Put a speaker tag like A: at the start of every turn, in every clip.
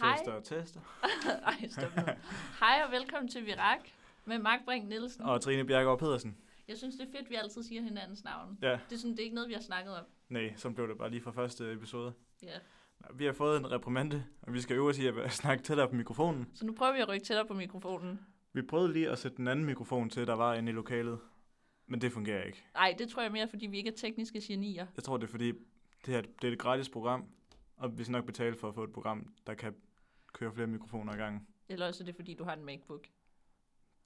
A: Hej.
B: Tester og tester.
A: Ej, stop nu. Hej og velkommen til Virak med Mark Brink Nielsen.
B: Og Trine Bjergaard Pedersen.
A: Jeg synes, det er fedt, vi altid siger hinandens navn.
B: Ja.
A: Det er, sådan, det er ikke noget, vi har snakket om.
B: Nej, så blev det bare lige fra første episode.
A: Ja.
B: Nå, Vi har fået en reprimande, og vi skal øve os i at snakke tættere på mikrofonen.
A: Så nu prøver vi at rykke tættere på mikrofonen.
B: Vi prøvede lige at sætte den anden mikrofon til, der var inde i lokalet. Men det fungerer ikke.
A: Nej, det tror jeg mere, fordi vi ikke er tekniske genier.
B: Jeg tror, det er fordi, det her det er et gratis program, og vi skal nok betale for at få et program, der kan køre flere mikrofoner ad gangen.
A: Eller også er det, fordi du har en MacBook.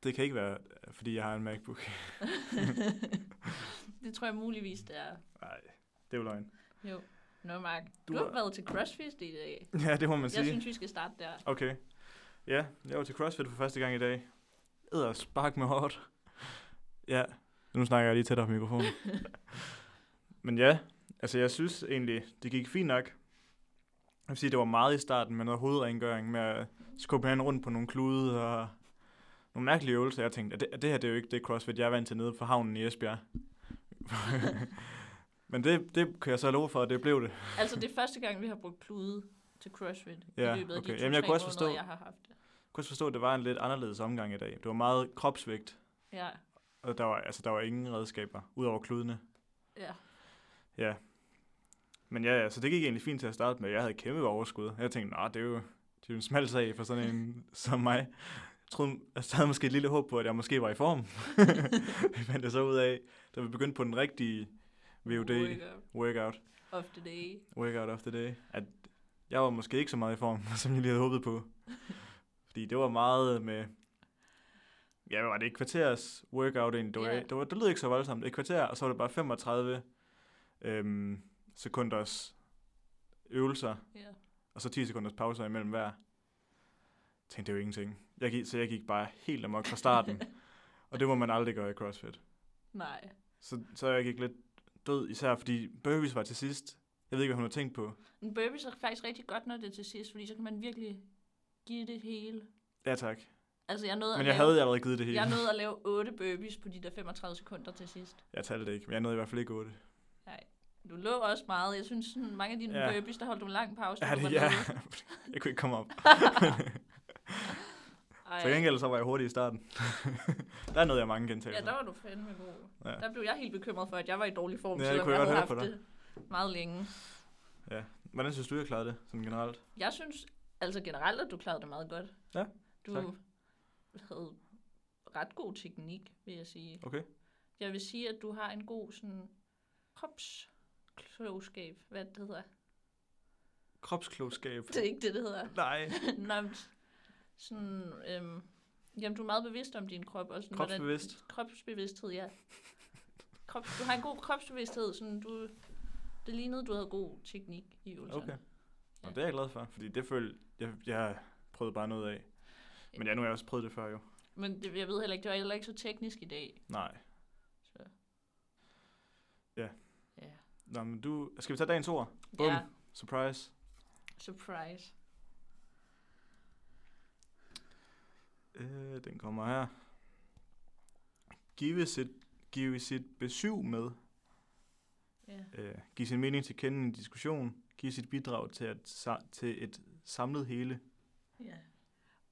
B: Det kan ikke være, fordi jeg har en MacBook.
A: det tror jeg muligvis, det er.
B: Nej, det er jo løgn.
A: Jo. Nå, Mark.
B: Du
A: Du, du har
B: har-
A: været til CrossFit i dag.
B: Ja, det må man sige.
A: Jeg synes, vi skal starte der.
B: Okay. Ja, jeg var til CrossFit for første gang i dag. Æder spark med hårdt. Ja, nu snakker jeg lige tættere på mikrofonen. men ja, altså jeg synes egentlig, det gik fint nok. Jeg vil sige, det var meget i starten med noget hovedrengøring, med at skubbe hinanden rundt på nogle klude og nogle mærkelige øvelser. Jeg tænkte, at det, at det her det er jo ikke det CrossFit, jeg er vant til nede på havnen i Esbjerg. men det, det kan jeg så love for, at det blev det.
A: Altså, det er første gang, vi har brugt klude til CrossFit
B: Ja,
A: i løbet af
B: okay.
A: de to,
B: Jamen, jeg
A: tre
B: kunne også
A: måneder,
B: forstå-
A: jeg har haft det.
B: Jeg kunne også forstå, at det var en lidt anderledes omgang i dag. Det var meget kropsvægt,
A: Ja,
B: Og der var, altså, der var ingen redskaber, udover kludene.
A: ja.
B: Ja. Men ja, ja, så det gik egentlig fint til at starte med. Jeg havde kæmpe overskud. Jeg tænkte, nej, det er jo det er jo en smal sag for sådan en som mig. Jeg troede, altså, jeg havde måske et lille håb på, at jeg måske var i form. det fandt jeg så ud af, da vi begyndte på den rigtige VUD
A: Workout
B: workout,
A: Of the day.
B: workout of the day, at jeg var måske ikke så meget i form, som jeg lige havde håbet på. Fordi det var meget med, ja, hvad var det, et kvarters workout egentlig, det, var,
A: Ja.
B: det, var, det lød ikke så voldsomt, et kvarter, og så var det bare 35 øhm, sekunders øvelser,
A: Ja.
B: og så 10 sekunders pauser imellem hver. Jeg tænkte, det er jo ingenting. Jeg gik, så jeg gik bare helt amok fra starten, og det må man aldrig gøre i CrossFit.
A: Nej.
B: Så, så jeg gik lidt død, især fordi Burpees var til sidst. Jeg ved ikke, hvad hun har tænkt på.
A: Men burpees er faktisk rigtig godt, når det er til sidst, fordi så kan man virkelig give det hele.
B: Ja tak.
A: Altså, jeg nåede,
B: Men
A: at
B: jeg
A: lave,
B: havde allerede givet det hele.
A: jeg nåede at lave 8 burpees på de der 35 sekunder til sidst.
B: Jeg talte det ikke, men jeg nåede i hvert fald ikke 8.
A: Du lå også meget. Jeg synes, sådan, mange af dine
B: Ja.
A: ja. burpees, der holdt du en lang pause.
B: Ja,
A: når du
B: det,
A: var
B: ja.
A: nede.
B: jeg kunne ikke komme op.
A: Ej.
B: Til gengæld så var jeg hurtig i starten. der nåede jeg mange
A: Ja,
B: gentagelser.
A: der var du fandme god.
B: Ja.
A: Ja. Der blev jeg helt bekymret for, at jeg var i dårlig form,
B: Ja, det
A: selvom
B: kunne jeg
A: jeg
B: godt
A: havde
B: høre
A: haft det meget længe.
B: Hvordan synes du, jeg klarede det sådan generelt?
A: Jeg synes altså generelt, at du klarede det meget godt.
B: Ja,
A: Du
B: tak.
A: havde ret god teknik, vil jeg sige.
B: Okay.
A: Jeg vil sige, at du har en god sådan kropsklogskab. Hvad det hedder.
B: Kropsklogskab.
A: Det er ikke det, det hedder.
B: Nej,
A: Nå, men sådan, øhm, jamen, du er meget bevidst om din krop. Og sådan,
B: Kropsbevidst.
A: Hvordan, kropsbevidsthed, ja. Krops, du har en god kropsbevidsthed. Sådan, du, det lignede, du havde god teknik i øvelserne.
B: okay. Nå, det er jeg glad for, fordi det følte jeg, jeg prøvede bare noget af. Men ja, nu har jeg også prøvet det før jo.
A: Men det, jeg ved heller ikke, det var heller ikke så teknisk i dag.
B: Nej.
A: Så.
B: Ja.
A: Ja.
B: Nå, men du... Skal vi tage dagens ord? Bum.
A: Ja,
B: Surprise.
A: surprise.
B: Øh, den kommer her. Give sit, give sit besøg med.
A: Ja.
B: øh, give sin mening til kende i en diskussion, give sit bidrag til, at, sa- til et samlet hele.
A: ja.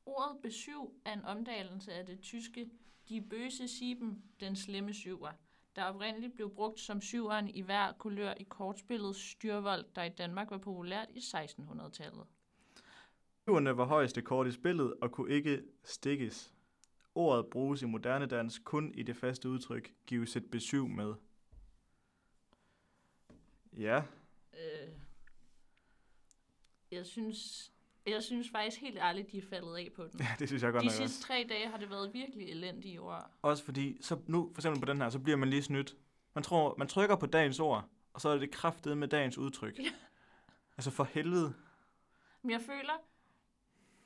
A: Ordet besyv er en omdannelse af det tyske Die böse Sieben, den slemme syver, der oprindeligt blev brugt som syveren i hver kulør i kortspillet Styrvold, der i Danmark var populært i 1600-tallet.
B: Syverne var højeste kort i spillet og kunne ikke stikkes. Ordet bruges i moderne dans kun i det faste udtryk, give sit besyv med. Ja,
A: Øh, jeg synes... Jeg synes faktisk helt ærligt, de er faldet af på den.
B: det synes jeg godt
A: De
B: nok også.
A: sidste tre dage har det været virkelig elendige ord.
B: Også fordi, så nu for eksempel på den her, så bliver man lige snydt. Man, tror, man trykker på dagens ord, og så er det kraftet med dagens udtryk. Altså for helvede.
A: Men jeg føler,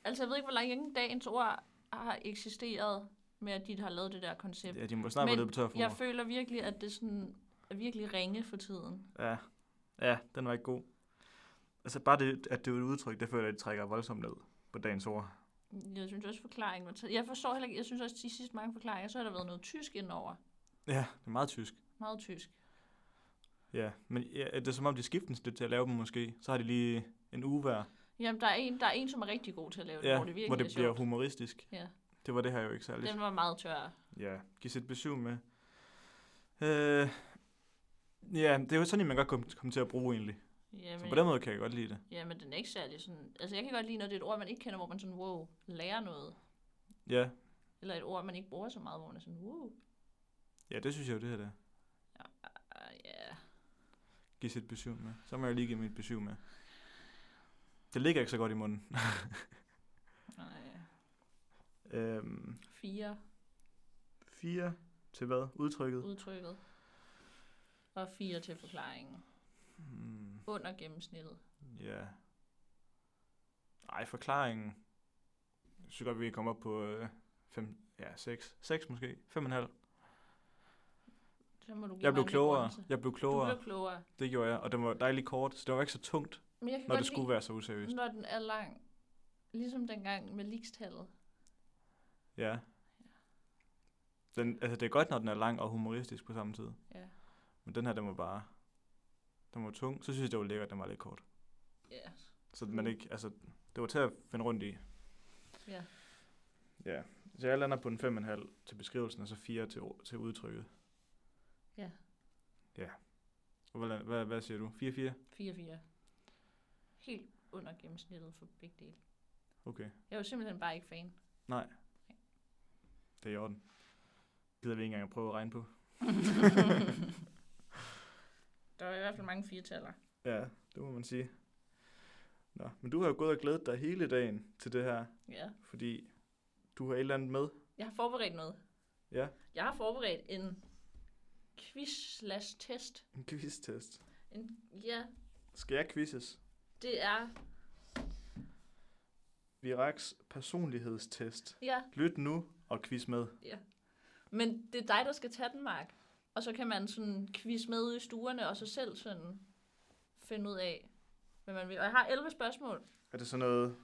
A: altså jeg ved ikke, hvor længe dagens ord har eksisteret med, at de har lavet det der koncept.
B: Ja, de må snart være
A: Men
B: lidt på tør for
A: jeg
B: ord.
A: føler virkelig, at det sådan er virkelig ringe for tiden.
B: Ja. ja, den var ikke god. Altså bare det, at det er et udtryk, det føler jeg, det trækker voldsomt ned på dagens ord.
A: Jeg synes også, forklaringen var tæ- Jeg forstår heller ikke, jeg synes også, de sidste mange forklaringer, så har der været noget tysk indover.
B: Ja, det er meget tysk.
A: Meget tysk.
B: Ja, men ja, det er som om, de skiftes lidt til at lave dem måske. Så har de lige en uge hver.
A: Jamen, der er, en, der er en, som er rigtig god til at lave det,
B: Ja,
A: hvor det virkelig
B: hvor det
A: er
B: bliver
A: sjovt.
B: humoristisk.
A: Ja.
B: Det var det her jo ikke særligt.
A: Den var meget tør.
B: Ja, give sit besøg med. Øh, ja, det er jo sådan, en, man godt kom- komme til at bruge egentlig. Så på den
A: Jamen,
B: måde kan jeg godt lide det.
A: jamen, den er ikke særlig sådan... Altså, jeg kan godt lide, når det er et ord, man ikke kender, hvor man sådan, wow, lærer noget.
B: Ja,
A: Eller et ord, man ikke bruger så meget, hvor man er sådan, wow,
B: ja det synes jeg jo, det her der.
A: ah, ja.
B: Give sit besøg med. Så må jeg lige give mit besøg med. Det ligger ikke så godt i munden.
A: Nej.
B: Øhm,
A: Fire
B: fire til hvad? Udtrykket?
A: udtrykket. Og fire til forklaringen.
B: Hmm,
A: Under gennemsnittet.
B: ja. Ej, forklaringen. Jeg synes godt, vi kan komme op på 5, ja, 6. 6 måske. 5,5.
A: Så må du give
B: Jeg
A: mig
B: blev
A: en
B: klogere.
A: begrundelse.
B: Jeg blev
A: Du
B: klogere.
A: blev klogere.
B: Det gjorde jeg, og den var dejlig kort, så det var ikke så tungt,
A: Men jeg kan
B: når
A: godt
B: det skulle være så useriøst.
A: lide, Mm. når den er lang. Ligesom dengang med likstallet.
B: Ja. Den, altså, det er godt, når den er lang og humoristisk på samme tid.
A: Ja.
B: Men den her, den var bare... Den var tung. Så synes jeg, det var lækkert, at den var lidt kort.
A: Ja.
B: Så man
A: Mm.
B: ikke... Altså, det var til at finde rundt i.
A: ja.
B: Ja. Så jeg lander på en 5,5 til beskrivelsen, og så 4 til, ord- til udtrykket.
A: Ja.
B: Ja. Og Hvad, la- hvad, hvad siger du? 4-4?
A: 4-4. Helt under gennemsnittet for begge dele.
B: Okay.
A: Jeg er jo simpelthen bare ikke fan.
B: Det er i orden. Gider vi ikke engang at prøve at regne på?
A: Der var i hvert fald mange firetaller.
B: Ja, det må man sige. Nå, men du har jo gået og glædet dig hele dagen til det her,
A: Ja.
B: fordi du har et eller andet med.
A: Jeg har forberedt noget.
B: Ja.
A: Jeg har forberedt en quiz slash test.
B: En quiz-test.
A: En, ja,
B: Skal jeg quizzes?
A: det er...
B: Viraks personlighedstest.
A: Ja,
B: Lyt nu og quiz med.
A: men det er dig, der skal tage den, Mark. Og så kan man sådan quiz med ude i stuerne, og så selv sådan finde ud af, hvad man vil. Og jeg har 11 spørgsmål.
B: Er det sådan noget...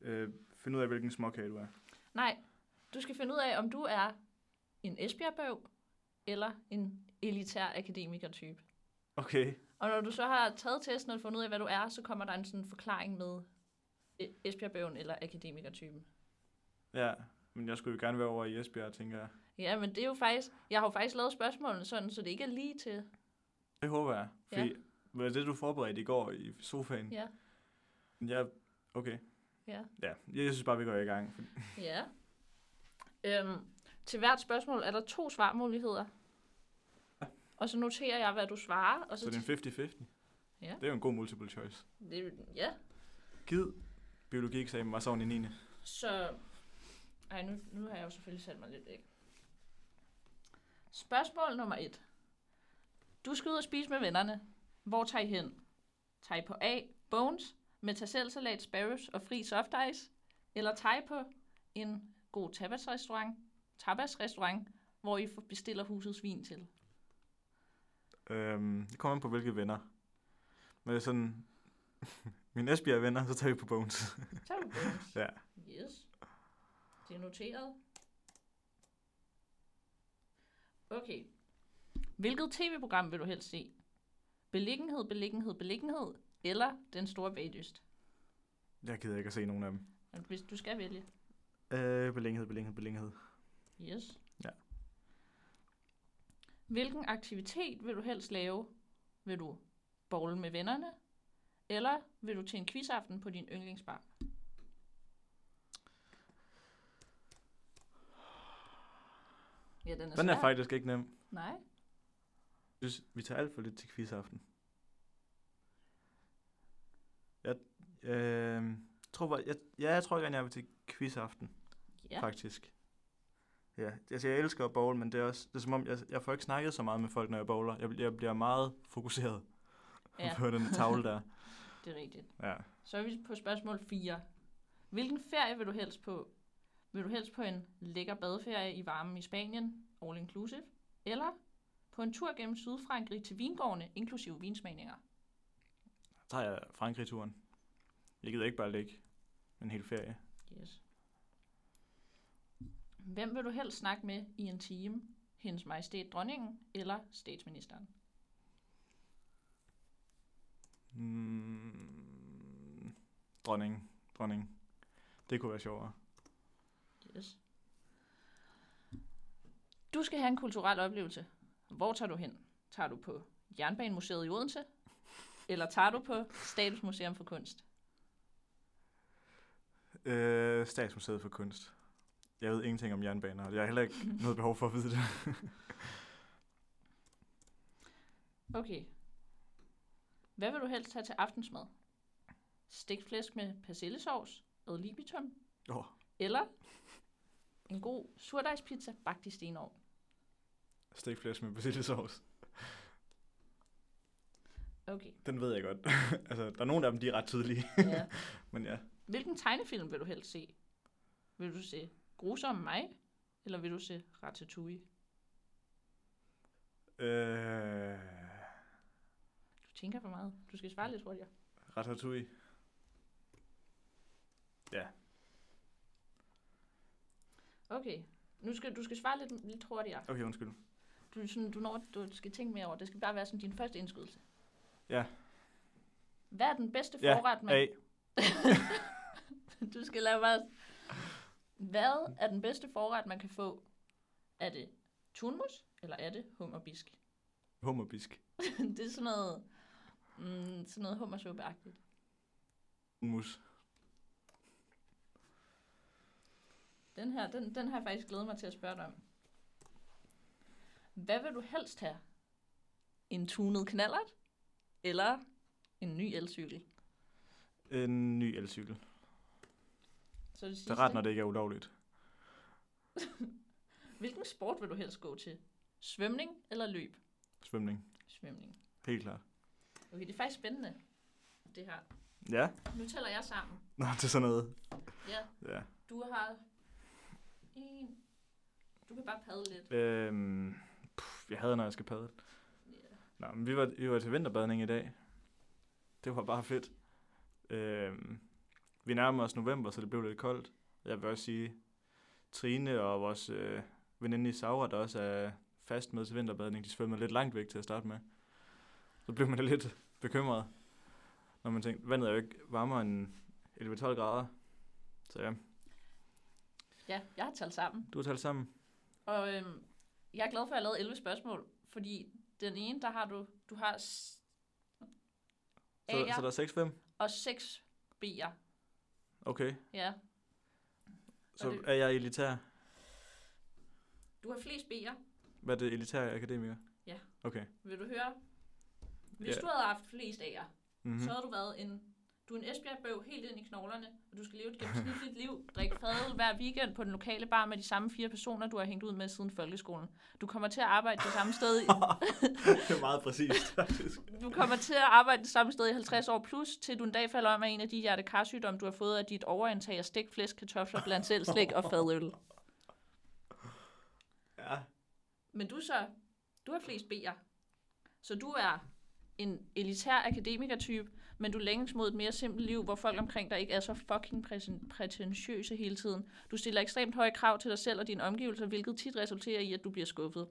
B: Øh, find ud af, hvilken småkage du er.
A: Nej, du skal finde ud af, om du er en Esbjergbøv eller en elitær akademiker-type.
B: Okay.
A: Og når du så har taget testen og fundet ud af, hvad du er, så kommer der en sådan forklaring med e- Esbjergbøven eller akademikertypen.
B: Ja, men jeg skulle jo gerne være over i Esbjerg, tænker jeg.
A: Ja, men det er jo faktisk... Jeg har jo faktisk lavet spørgsmålene sådan, så det ikke er lige til.
B: Det håber jeg.
A: Ja.
B: Fordi ja. det, du forberedte i går i sofaen.
A: Ja,
B: Ja, okay.
A: ja,
B: Ja, jeg, jeg synes bare, vi går i gang.
A: ja. Øhm, til hvert spørgsmål er der to svarmuligheder. Og så noterer jeg, hvad du svarer. Og så,
B: Så det er en 50-50.
A: Ja.
B: Det er jo en god multiple choice.
A: det, ja.
B: Gid biologieksamen var sådan i 9.
A: Så... Ej, nu, nu har jeg jo selvfølgelig sat mig lidt væk. Spørgsmål nummer et. Du skal ud og spise med vennerne. Hvor tager I hen? Tager I på A. Bones med tasselsalat, sparrows og fri soft ice? Eller tager I på en god tapasrestaurant, tapasrestaurant hvor I får- bestiller husets vin til?
B: Øhm, det kommer an på, hvilke venner. Men det er sådan, mine Esbjerg-venner, så tager vi på Bones.
A: Tager du Bones?
B: Ja.
A: Yes. Det er noteret. Okay. Hvilket tv-program vil du helst se? Beliggenhed, beliggenhed, beliggenhed eller Den Store Bagdyst?
B: Jeg gider ikke at se nogen af dem.
A: Altså, Hvis du skal vælge.
B: Øh, belænghed, belænghed, belænghed.
A: Yes.
B: Ja.
A: Hvilken aktivitet vil du helst lave? Vil du bowle med vennerne? Eller vil du til en quizaften på din yndlingsbar? Ja, den er,
B: Den er
A: svær.
B: faktisk ikke nem.
A: Nej.
B: Jeg synes, vi tager alt for lidt til quizaften. Jeg, øh, tror, bare- jeg, ja, jeg tror gerne, jeg vil til quizaften, ja.
A: Ja.
B: faktisk. Ja, altså jeg elsker at bowl, men det er også, det er som om, jeg, jeg får ikke snakket så meget med folk, når jeg bowler. Jeg, bl- jeg bliver meget fokuseret
A: Ja.
B: ja. på den tavle der.
A: Det er rigtigt.
B: Ja.
A: Så er vi på spørgsmål 4. Hvilken ferie vil du helst på? Vil du helst på en lækker badeferie i varmen i Spanien, all inclusive? Eller på en tur gennem Sydfrankrig til vingårdene, inklusive vinsmagninger?
B: Så tager jeg Frankrig-turen. Jeg gider ikke bare ligge en hel ferie.
A: Yes. Hvem vil du helst snakke med i en time? Hendes majestæt dronningen eller statsministeren?
B: Mm, dronning. dronning. Det kunne være sjovere.
A: Yes. Du skal have en kulturel oplevelse. Hvor tager du hen? Tager du på Jernbanemuseet i Odense? Eller tager du på Statens Museum for Kunst?
B: Øh, Statsmuseet for Kunst. Jeg ved ingenting om jernbaner, og jeg har heller ikke noget behov for at vide det.
A: Okay. Hvad vil du helst have til aftensmad? Stegt flæsk med persillesovs, ad libitum,
B: Åh.
A: eller en god surdejspizza bagt i stenovn.
B: Stegt flæsk med persillesauce.
A: Okay.
B: Den ved jeg godt. altså, der er nogle af dem, de er ret tydelige.
A: Ja.
B: Men ja,
A: Hvilken tegnefilm vil du helst se? Vil du se Grusomme mig, eller vil du se Ratatouille?
B: Øh,
A: Du tænker for meget. Du skal svare lidt hurtigere.
B: Ratatouille.
A: Okay. Nu skal, du skal svare lidt, lidt hurtigere.
B: Okay, undskyld.
A: Du, er sådan, du, når, du skal tænke mere over. Det skal bare være sådan din første indskydelse.
B: Ja.
A: Hvad er den bedste
B: Ja,
A: forret, man...
B: A.
A: Du skal lade mig... Hvad er den bedste forret, man kan få? Er det tunmus, eller er det hummerbisk?
B: Hummerbisk.
A: det er sådan noget, mm, sådan noget hummersuppeagtigt.
B: Hummus.
A: Den her, den, den har jeg faktisk glædet mig til at spørge dig om. Hvad vil du helst have? En tunet knallert? Eller en ny elcykel?
B: En ny elcykel.
A: Så det,
B: Det
A: sidste.
B: er ret, når det ikke er ulovligt.
A: Hvilken sport vil du helst gå til? Svømning eller løb?
B: Svømning.
A: Svømning.
B: Helt klart.
A: Okay, det er faktisk spændende, det her.
B: Ja.
A: Nu tæller jeg sammen.
B: Nå, det er sådan noget.
A: Ja,
B: Ja.
A: du har en... Du kan bare padle lidt.
B: Øhm, puh, jeg havde, når jeg skal padle. Nå, men vi var, vi var til vinterbadning i dag. Det var bare fedt. Øhm, vi nærmer os november, så det blev lidt koldt. Jeg vil også sige, Trine og vores øh, veninde i Saura, der også er fast med til vinterbadning, de svømmede lidt langt væk til at starte med. Så blev man da lidt bekymret, når man tænkte, vandet er jo ikke varmere end 11-12 grader. Så ja,
A: Ja, jeg har talt sammen.
B: du har talt sammen.
A: Og øhm, jeg er glad for, at jeg lavede 11 spørgsmål, fordi den ene, der har du, du har s-
B: Så,
A: A'er
B: så der er 6-5?
A: og 6 B'er.
B: Okay.
A: Ja,
B: Så
A: Og det-
B: er jeg elitær.
A: du har flest B'er.
B: Hvad er det, elitær akademiker?
A: Ja.
B: Okay.
A: Vil du høre? Hvis
B: Ja.
A: du havde haft flest A'er,
B: Mm-hmm.
A: mm-hmm. så havde du været en... Du er en Esbjerg-bøv helt ind i knoglerne, og du skal leve et gennemsnitligt liv, drikke fadøl hver weekend på den lokale bar med de samme fire personer, du har hængt ud med siden folkeskolen. Du kommer til at arbejde det samme sted i,
B: det er meget præcist, faktisk.
A: Du kommer til at arbejde det samme sted i 50 år plus, til du en dag falder om af en af de hjertekarsygdomme, du har fået af dit overindtag af stegt flæsk, kartofler, blandt selv slik og fadøl.
B: Ja.
A: Men du så, du har flest B'er. Så du er en elitær akademikertype, men du længes mod et mere simpelt liv, hvor folk omkring dig ikke er så fucking præsen- prætentiøse hele tiden. Du stiller ekstremt høje krav til dig selv og dine omgivelser, hvilket tit resulterer i, at du bliver skuffet.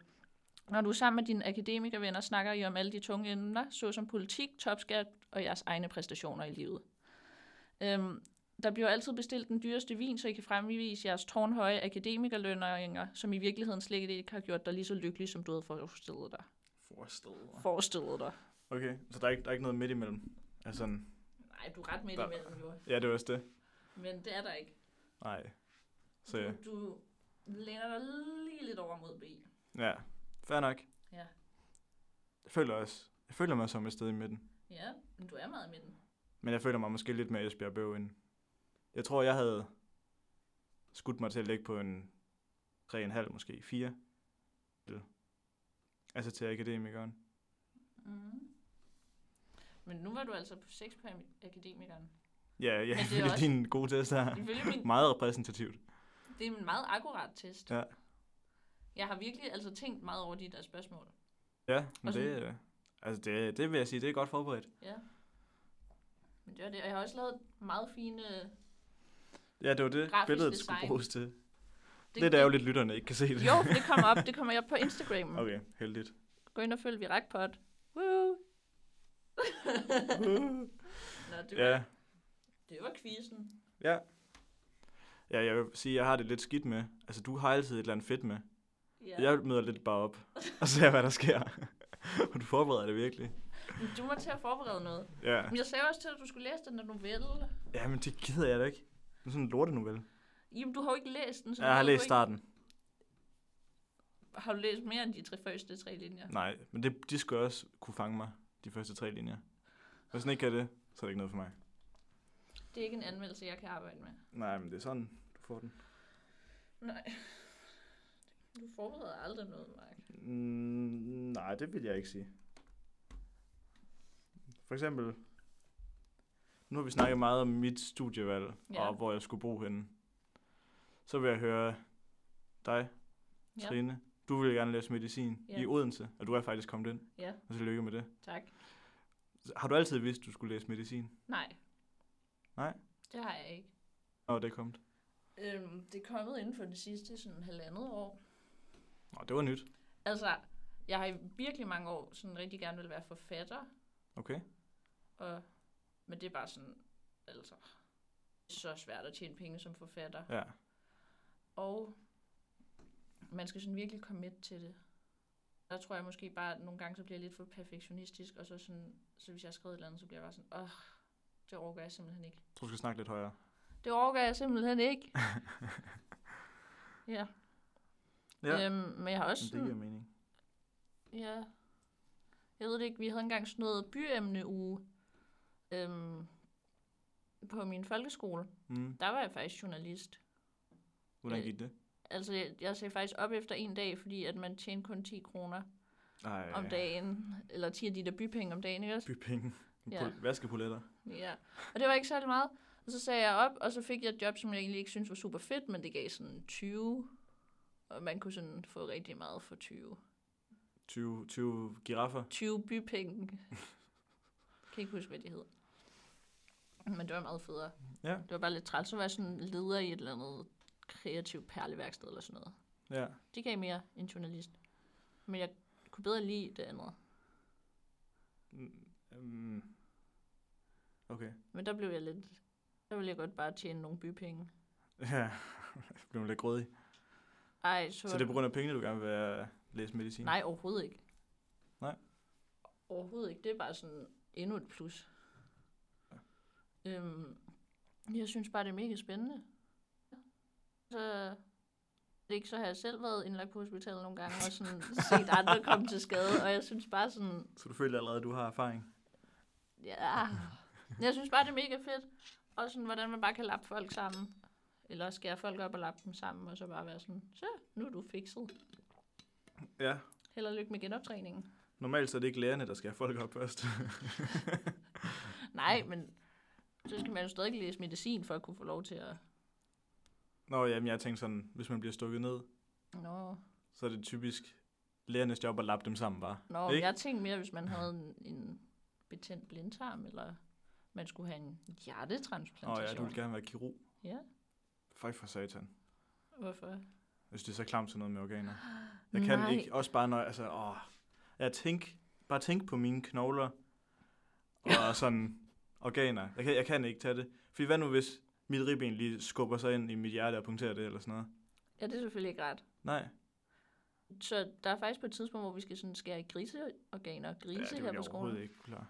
A: Når du er sammen med dine akademikervenner, snakker I om alle de tunge emner, såsom politik, topskat og jeres egne præstationer i livet. Øhm, der bliver altid bestilt den dyreste vin, så I kan fremvise jeres tårnhøje akademikerlønninger, som i virkeligheden slet ikke har gjort dig lige så lykkelig, som du havde forestillet dig.
B: Forstået.
A: Forestillet dig.
B: Okay, så der er, ikke, der er ikke noget midt imellem? Altså sådan,
A: Nej, du er ret midt
B: Der-
A: imellem, jo.
B: ja, det var også det.
A: Men det er der ikke.
B: Nej. Så ja.
A: Du, du læner dig lige lidt over mod B.
B: ja. Fair nok.
A: Ja.
B: Jeg føler også, jeg føler mig som et sted i midten.
A: Ja, men du er meget i midten.
B: Men jeg føler mig måske lidt mere Esbjerg Bøv end. Jeg tror, jeg havde skudt mig til at ligge på en 3,5 måske, 4. Eller- Altså til akademikeren.
A: Mm. Men nu var du altså på 6 på akademikeren.
B: Ja, ja,
A: det er
B: ifølge
A: også-
B: din gode test her.
A: Ifølge min
B: Meget repræsentativt.
A: Det er en meget akkurat test.
B: Ja.
A: Jeg har virkelig altså tænkt meget over de der spørgsmål.
B: Ja, men
A: Og sådan-
B: det, øh, altså det, det vil jeg sige, det er godt forberedt.
A: Ja. Men det var det. Og jeg har også lavet meget fine...
B: Ja, det var det,
A: Grafisk
B: billedet
A: design.
B: skulle bruges til. Det, Lidt ærgerligt, lytterne ikke kan se det.
A: Jo, det kommer op. Det kommer jeg op på Instagram. Okay.
B: Okay, heldigt.
A: Gå ind og følg vi rakpot. Woo! Nå, det var,
B: Ja,
A: Det var quizzen.
B: Ja. Ja, jeg vil sige, jeg har det lidt skidt med. Altså, du har altid et eller andet fedt med. Ja. Jeg møder lidt bare op og ser, hvad der sker. og du forbereder det virkelig.
A: Men Du var til at forberede noget.
B: Ja.
A: Men jeg sagde også til dig, at du skulle læse den her novelle.
B: ja, men det gider jeg da ikke. Det er sådan en lortenovelle.
A: Jamen, du har jo ikke læst den. Så
B: Jeg har
A: ved du
B: læst
A: ikke,
B: starten.
A: Har du læst mere end de tre første tre linjer?
B: Nej, men det, de skulle også kunne fange mig, de første tre linjer. Hvis den ikke kan det, så er det ikke noget for mig.
A: Det er ikke en anmeldelse, jeg kan arbejde med.
B: Nej, men det er sådan, du får den.
A: Nej. Du forbereder aldrig noget, Mark.
B: Mm, nej, det vil jeg ikke sige. For eksempel, nu har vi snakket meget om mit studievalg,
A: Ja.
B: og hvor jeg skulle bo henne. Så vil jeg høre dig,
A: Ja.
B: Trine. Du ville gerne læse medicin
A: Ja.
B: i Odense, og du er faktisk kommet ind,
A: Ja,
B: og så lykke med det.
A: tak.
B: Har du altid vidst, du skulle læse medicin,
A: Nej.
B: Nej?
A: Det har jeg ikke.
B: når det er kommet?
A: Øhm, det er kommet inden for det sidste sådan halvandet år.
B: Nå, det var nyt.
A: Altså, jeg har i virkelig mange år sådan rigtig gerne vil være forfatter.
B: Okay.
A: Og, men det er bare sådan, altså, så svært at tjene penge som forfatter.
B: Ja.
A: Og man skal sådan virkelig commit til det. Der tror jeg måske bare, at nogle gange så bliver jeg lidt for perfektionistisk, og så, sådan, så hvis jeg har skrevet et eller andet, så bliver jeg bare sådan, åh, det overgår jeg simpelthen ikke.
B: Jeg tror, du skal snakke lidt højere.
A: Det overgår jeg simpelthen ikke. ja.
B: Ja,
A: Øhm, men jeg har også
B: men det giver
A: sådan,
B: mening.
A: ja, jeg ved det ikke, vi havde engang sådan noget byemneuge øhm, på min folkeskole.
B: Mm.
A: Der var jeg faktisk journalist.
B: Hvordan
A: Øh,
B: gik det?
A: Altså, jeg, jeg sagde faktisk op efter en dag, fordi at man tjente kun 10 kroner
B: Ej,
A: om dagen, eller 10 af de der bypenge om dagen, ikke også?
B: bypenge.
A: Ja.
B: Ja. Vaskepoletter.
A: Ja. Og det var ikke særlig meget. Og så sagde jeg op, og så fik jeg et job, som jeg egentlig ikke synes var super fedt, men det gav sådan 20. Og man kunne sådan få rigtig meget for 20.
B: 20, 20 giraffer.
A: 20 bypenge. kan ikke huske, hvad de hed. Men det var meget federe.
B: Ja.
A: Det var bare lidt træls at være sådan leder i et eller andet kreativt perleværksted eller sådan noget.
B: Ja.
A: Det gav mere en journalist. Men jeg kunne bedre lide det andet.
B: Mm. Okay.
A: Men der blev jeg lidt... Der ville jeg godt bare tjene nogle bypenge.
B: Ja, jeg blev lidt grødig.
A: Ej, så...
B: Så det er på grund af pengene, du gerne vil øh, læse medicin?
A: Nej, overhovedet ikke.
B: Nej.
A: Overhovedet ikke. Det er bare sådan endnu et plus. Øhm, jeg synes bare, det er mega spændende. Så ikke så har jeg selv været indlagt på hospitalet nogle gange og sådan set andre komme til skade, og jeg synes bare sådan,
B: Så du føler allerede, at du har erfaring?
A: Ja. Jeg synes bare, det er mega fedt. Og sådan, hvordan man bare kan lappe folk sammen. Eller skære folk op og lappe dem sammen, og så bare være sådan, så, nu er du fikset.
B: Ja.
A: Held og lykke med genoptræningen.
B: Normalt så er det ikke lærerne, der skal have folk op først.
A: Nej, men så skal man jo stadig læse medicin, for at kunne få lov til at...
B: Nå, jamen jeg tænkte sådan, hvis man bliver stukket ned,
A: Nå,
B: så er det typisk lærernes job at lappe dem sammen bare.
A: Nå
B: Ikke?
A: jeg tænkte mere, hvis man havde en, en betændt blindtarm, eller man skulle have en
B: Åh oh, ja, du
A: hjertetransplantation.
B: vil gerne være kirurg.
A: ja,
B: Fej for satan.
A: hvorfor?
B: Jeg synes, det er så klamt sådan noget med organer. Jeg kan
A: Nej.
B: ikke. Også bare når, altså, åh. Jeg tænk, bare tænk på mine knogler og sådan organer. Jeg kan, jeg kan ikke tage det. Fordi hvad nu, hvis mit ribben lige skubber sig ind i mit hjerte og punkterer det eller sådan noget?
A: Ja, det er selvfølgelig ikke ret.
B: Nej.
A: Så der er faktisk på et tidspunkt, hvor vi skal sådan skære i griseorganer og grise
B: det
A: ja, her
B: jeg
A: på skolen.
B: overhovedet ikke klar.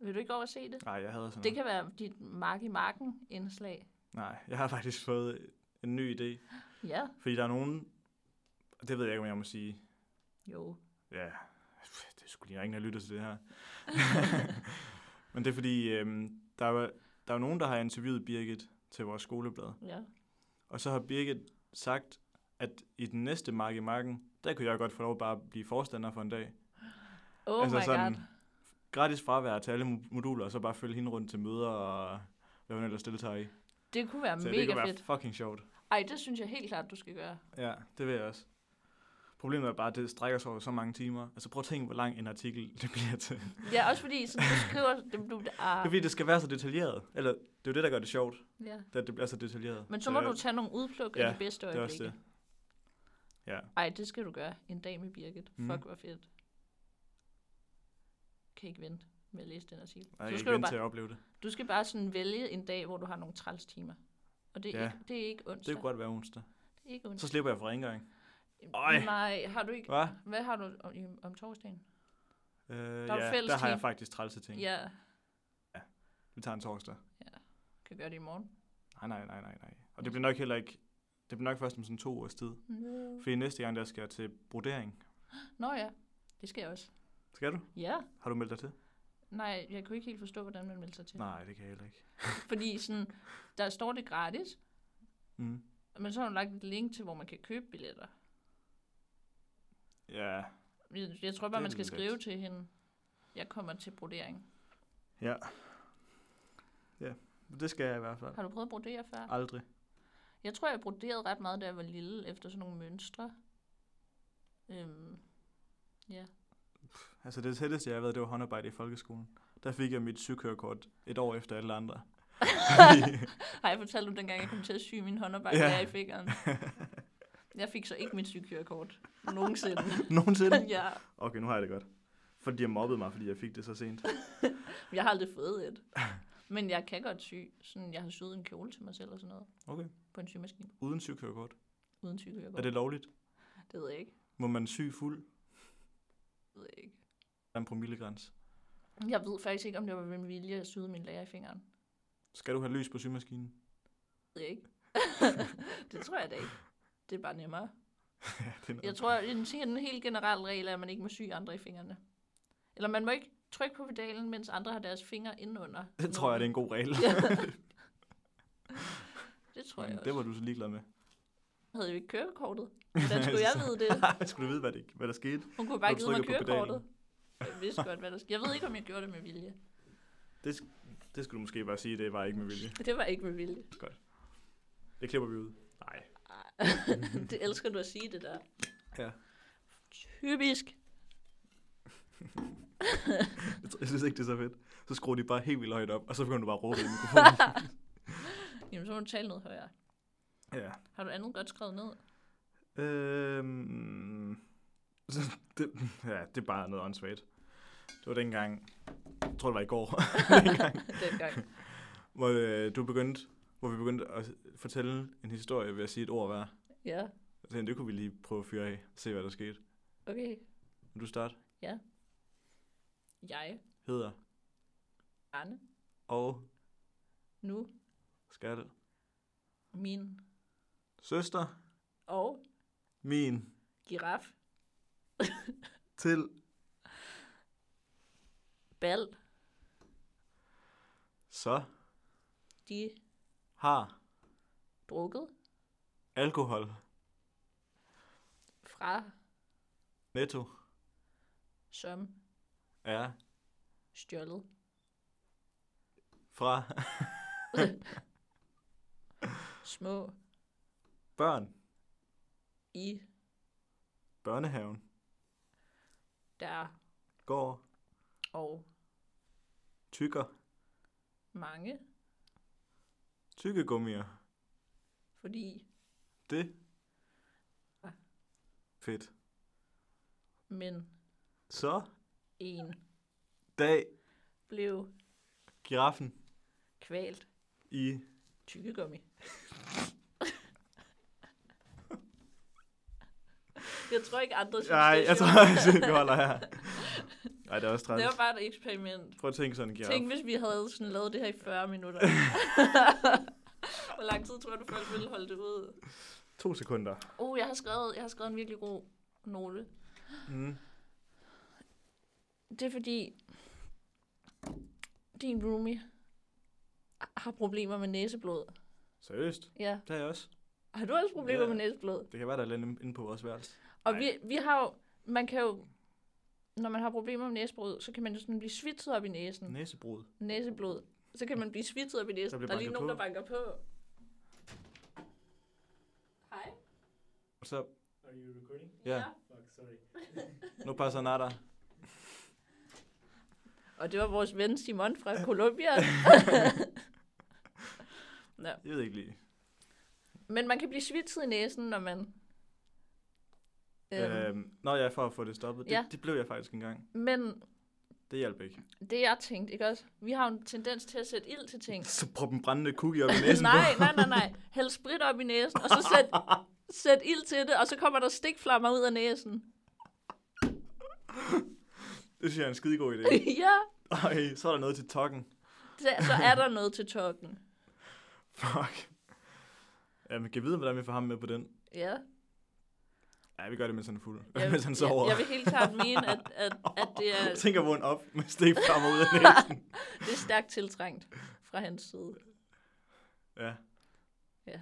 A: Vil du ikke over og se det?
B: Nej, jeg havde sådan
A: Det
B: noget.
A: kan være dit mark i marken indslag.
B: Nej, jeg har faktisk fået en ny idé.
A: Ja,
B: Fordi der er nogen, og det ved jeg ikke, om jeg må sige,
A: jo.
B: Ja, pff, det skulle lige der er ingen, der lytter til det her. Men det er fordi, øhm, der, er, der er nogen, der har interviewet Birgit til vores skoleblad.
A: Ja.
B: Og så har Birgit sagt, at i den næste mark i marken, der kunne jeg godt få lov bare at blive forstander for en dag.
A: Oh
B: Altså
A: altså my
B: sådan-
A: god.
B: Gratis fravær til alle mo- moduler, og så bare følge hende rundt til møder og hvad hun ellers deltager i.
A: Det kunne være
B: så det
A: mega
B: kunne
A: fedt.
B: være fucking sjovt.
A: Ej, det synes jeg helt klart, du skal gøre.
B: Ja, det vil jeg også. Problemet er bare, at det strækker sig over så mange timer. Altså prøv at tænke, hvor lang en artikel det bliver til.
A: Ja, også fordi sådan, du skriver... Det, du,
B: Det er
A: ah,
B: fordi, det skal være så detaljeret. Eller, det er jo det, der gør det sjovt,
A: ja.
B: at det bliver så detaljeret.
A: Men så må
B: det,
A: du tage nogle udpluk af
B: Ja,
A: de bedste
B: det er også
A: øjeblikke.
B: det. Ja,
A: Ej, det
B: Mhm.
A: skal du gøre. En dag med Birgit.
B: Mm.
A: Fuck, hvor fedt. Kan ikke vente. med at læse den artikel.
B: Nej,
A: så
B: jeg
A: skal du,
B: skal til
A: bare,
B: at opleve det.
A: du skal bare sådan vælge en dag, hvor du har nogle træls timer. Og det er,
B: Ja.
A: ikke, det er ikke onsdag.
B: Det kunne godt være onsdag.
A: det er ikke
B: Så
A: onsdag.
B: slipper jeg for rengøring. Øj.
A: Nej, har du ikke...
B: Hvad?
A: Hvad har du om, i- om torsdagen?
B: Øh,
A: er du
B: ja,
A: fælles
B: der har jeg
A: team.
B: faktisk trælse ting.
A: Ja,
B: Vi tager en torsdag.
A: kan gøre det i morgen.
B: Nej, nej, nej, nej, nej. Og det bliver nok heller ikke... Det bliver nok først om sådan to års tid.
A: Mm.
B: Fordi næste gang, der skal jeg til brodering.
A: Nå ja, det skal jeg også.
B: Skal du?
A: Ja.
B: Har du meldt dig til?
A: Nej, jeg kunne ikke helt forstå, hvordan man meldte sig til.
B: Nej, det kan jeg heller ikke.
A: Fordi sådan, der står det gratis,
B: Mm.
A: men så har du lagt et link til, hvor man kan købe billetter.
B: Ja.
A: Jeg, jeg tror bare,
B: Det er
A: man skal
B: lidt let.
A: skrive til hende, jeg kommer til brodering.
B: Ja. Ja, det skal jeg i hvert fald.
A: Har du prøvet at brodere før?
B: Aldrig.
A: Jeg tror, jeg broderede ret meget, da jeg var lille, efter sådan nogle mønstre. Øhm, ja.
B: Altså det tætteste, jeg har været, det var håndarbejde i folkeskolen. Der fik jeg mit sygekørekort et år efter alle andre.
A: Har jeg fortalt om dengang, jeg kom til at sy min håndarbejde
B: Ja.
A: ja. i fingeren? Jeg fik så ikke mit sygekørekort. Nogensinde.
B: Nogensinde.
A: ja.
B: Okay, nu har jeg det godt. Fordi jeg mobbede mig, fordi jeg fik det så sent.
A: Jeg har aldrig fået et. Men jeg kan godt sy. Sådan, jeg har syet en kjole til mig selv og sådan noget.
B: Okay.
A: På en symaskine.
B: Uden sygekørekort.
A: Uden sygekørekort.
B: Er det lovligt?
A: Det ved jeg ikke.
B: Må man sy fuld?
A: Det ved jeg ikke.
B: Der er en promillegræns.
A: Jeg ved faktisk ikke, om det var min vilje at syde min lærer i fingeren.
B: Skal du have lys på symaskinen?
A: Det ved jeg ikke. det tror jeg da ikke. Det er bare nemmere.
B: ja, det er noget.
A: Jeg tror, at en, en helt generel regel er, at man ikke må sy andre i fingrene. Eller man må ikke trykke på pedalen, mens andre har deres fingre indenunder.
B: det tror jeg, det er en god regel.
A: Det tror jeg
B: Men
A: også.
B: det var du så ligeglad med.
A: Havde jo ikke kørekortet. Hvordan skulle jeg vide det?
B: Skulle du vide, hvad, det, hvad der skete?
A: Hun kunne
B: Når
A: bare ikke
B: du
A: give mig
B: trykker på
A: kørekortet. Jeg vidste godt, hvad der skete. Jeg ved ikke, om jeg gjorde det med vilje.
B: Det, sk- det skulle du måske bare sige, det var ikke med vilje.
A: Det var ikke med vilje.
B: Det klipper vi ud. Nej.
A: Ej, det elsker du at sige, det der.
B: Ja.
A: Typisk.
B: Jeg, tror- jeg synes ikke, det er så fedt. Så skruer de bare helt vildt højt op, og så begynder du bare at råbe i mikrofonen.
A: Jamen, så må du tale noget højere.
B: ja.
A: Har du andet godt skrevet ned?
B: Øhm, så det, ja, det er bare noget åndssvagt. Det var dengang, jeg tror det var i går,
A: Dengang.
B: hvor øh, du begyndte, hvor vi begyndte at fortælle en historie ved at sige et ord hver.
A: Ja,
B: Jeg tænkte, det kunne vi lige prøve at fyre af, se hvad der skete.
A: okay.
B: Vil du starte?
A: Jeg,
B: Hedder
A: Anne,
B: og
A: nu,
B: skal
A: min
B: søster
A: og
B: min
A: giraf,
B: til
A: bal,
B: så
A: de
B: har
A: drukket
B: alkohol
A: fra
B: netto
A: som
B: er
A: stjålet.
B: fra
A: Små
B: børn,
A: i
B: børnehaven,
A: der
B: går,
A: og
B: tykker,
A: mange,
B: tykkegummier.
A: fordi
B: Det.
A: Ja.
B: Fedt.
A: men
B: Så
A: en
B: dag
A: blev
B: giraffen
A: kvalt
B: i...
A: tykkegummi. jeg tror ikke andre synes,
B: Nej,
A: det er
B: jeg
A: sjovt.
B: tror ikke, vi holder her. Nej, det er også
A: Det
B: træls.
A: var bare et eksperiment.
B: Prøv at tænke sådan en giraf.
A: Tænk, hvis vi havde sådan lavet det her i 40 minutter. Hvor lang tid tror du, folk ville holde det ud?
B: To sekunder.
A: Oh, jeg har skrevet, jeg har skrevet en virkelig god note.
B: Mm.
A: Det er fordi, din roomie har problemer med næseblod.
B: Seriøst?
A: Ja.
B: Det har jeg også.
A: Har du også problemer
B: Ja.
A: ja. med næseblod?
B: Det kan være, der er lidt inde inde på vores værelse.
A: Og
B: Nej.
A: vi, vi har jo, man kan jo, når man har problemer med næseblod, så kan man jo sådan blive svitset op i næsen.
B: Næsebrud.
A: Næseblod. Så kan man blive svitset op i
B: Der
A: næsen. Der,
B: bliver
A: der er lige
B: banket
A: nogen,
B: på.
A: der banker på. Hej.
B: Og så...
C: Are you recording?
B: Ja.
C: Fuck, sorry.
B: Nu passer nada.
A: Og det var vores ven Simon fra Colombia.
B: Jeg ved ikke lige.
A: Men man kan blive svitset i næsen, når man... Øhm,
B: Øh. Øhm. Øhm, når jeg er for at få det stoppet. Det,
A: ja.
B: det blev jeg faktisk engang.
A: Men
B: Det hjalp ikke.
A: Det jeg tænkte, ikke også? Vi har jo en tendens til at sætte ild til ting.
B: Så prop en brændende cookie op i næsen
A: nej,
B: på.
A: nej, nej, nej. Hæld sprit op i næsen, og så sæt, sæt ild til det, og så kommer der stikflammer ud af næsen.
B: Det synes jeg er en skidegod idé.
A: ja,
B: Ej, så er der noget til tokken.
A: så så er der noget til tokken.
B: Fuck. Jamen, kan jeg vide, hvordan vi får ham med på den?
A: Ja.
B: Ja, vi gør det, mens han er fuld.
A: Jeg,
B: mens han
A: jeg,
B: sover.
A: jeg, vil helt klart mene, at, at, at det, er,
B: Tænk at vågne op med stik frem ud af næsen.
A: det er stærkt tiltrængt fra hans side.
B: Ja.
A: Ja.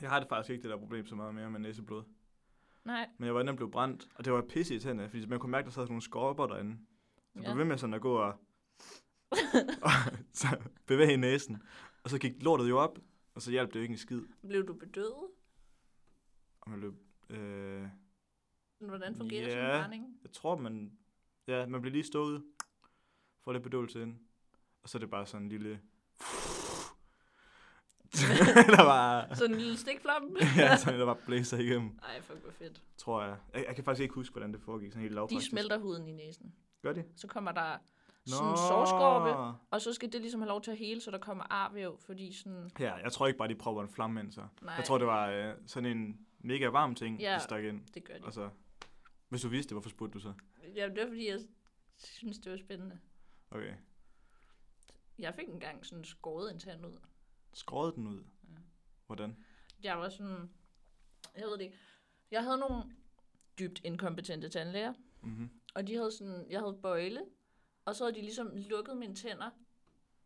B: Jeg har det faktisk ikke det der problem så meget mere med næseblod.
A: Nej,
B: Men jeg var inde og blev brændt, og det var pisse i tænderne, fordi man kunne mærke, at der sad sådan nogle skorper derinde. Så
A: Ja.
B: ja. blev ved med sådan at gå og, og så bevæge næsen. Og så gik lortet jo op, og så hjalp det jo ikke en skid.
A: blev du bedøvet?
B: Og man løb, øh,
A: Hvordan fungerer yeah. sådan
B: Ja.
A: en brænding?
B: jeg tror, man, ja, man bliver lige stået, får lidt bedøvelse ind, og så er det bare sådan en lille... der bare,
A: Sådan en lille stikflamme?
B: ja, sådan, der bare blæser igennem,
A: Ej, fuck, hvor fedt.
B: tror jeg. jeg. Jeg, kan faktisk ikke huske, hvordan det foregik sådan helt
A: De
B: lavpraktisk.
A: smelter huden i næsen.
B: Gør de?
A: Så kommer der
B: Nå.
A: sådan en sårskorpe, og så skal det ligesom have lov til at hele, så der kommer arvæv, fordi sådan...
B: Ja, jeg tror ikke bare, de propper en flamme ind så.
A: Nej,
B: Jeg tror, det var øh, sådan en mega varm ting,
A: Ja.
B: de stak ind.
A: det gør de.
B: Og så, hvis du vidste det, hvorfor spurgte du så?
A: Jamen, det var fordi, jeg synes, det var spændende.
B: Okay.
A: Jeg fik engang sådan skåret en tand ud.
B: Skråede den ud? Hvordan?
A: Jeg var sådan... Jeg ved det ikke. Jeg havde nogle dybt inkompetente tandlæger,
B: Mm-hmm.
A: og de havde sådan... Jeg havde bøjle, og så havde de ligesom lukket mine tænder,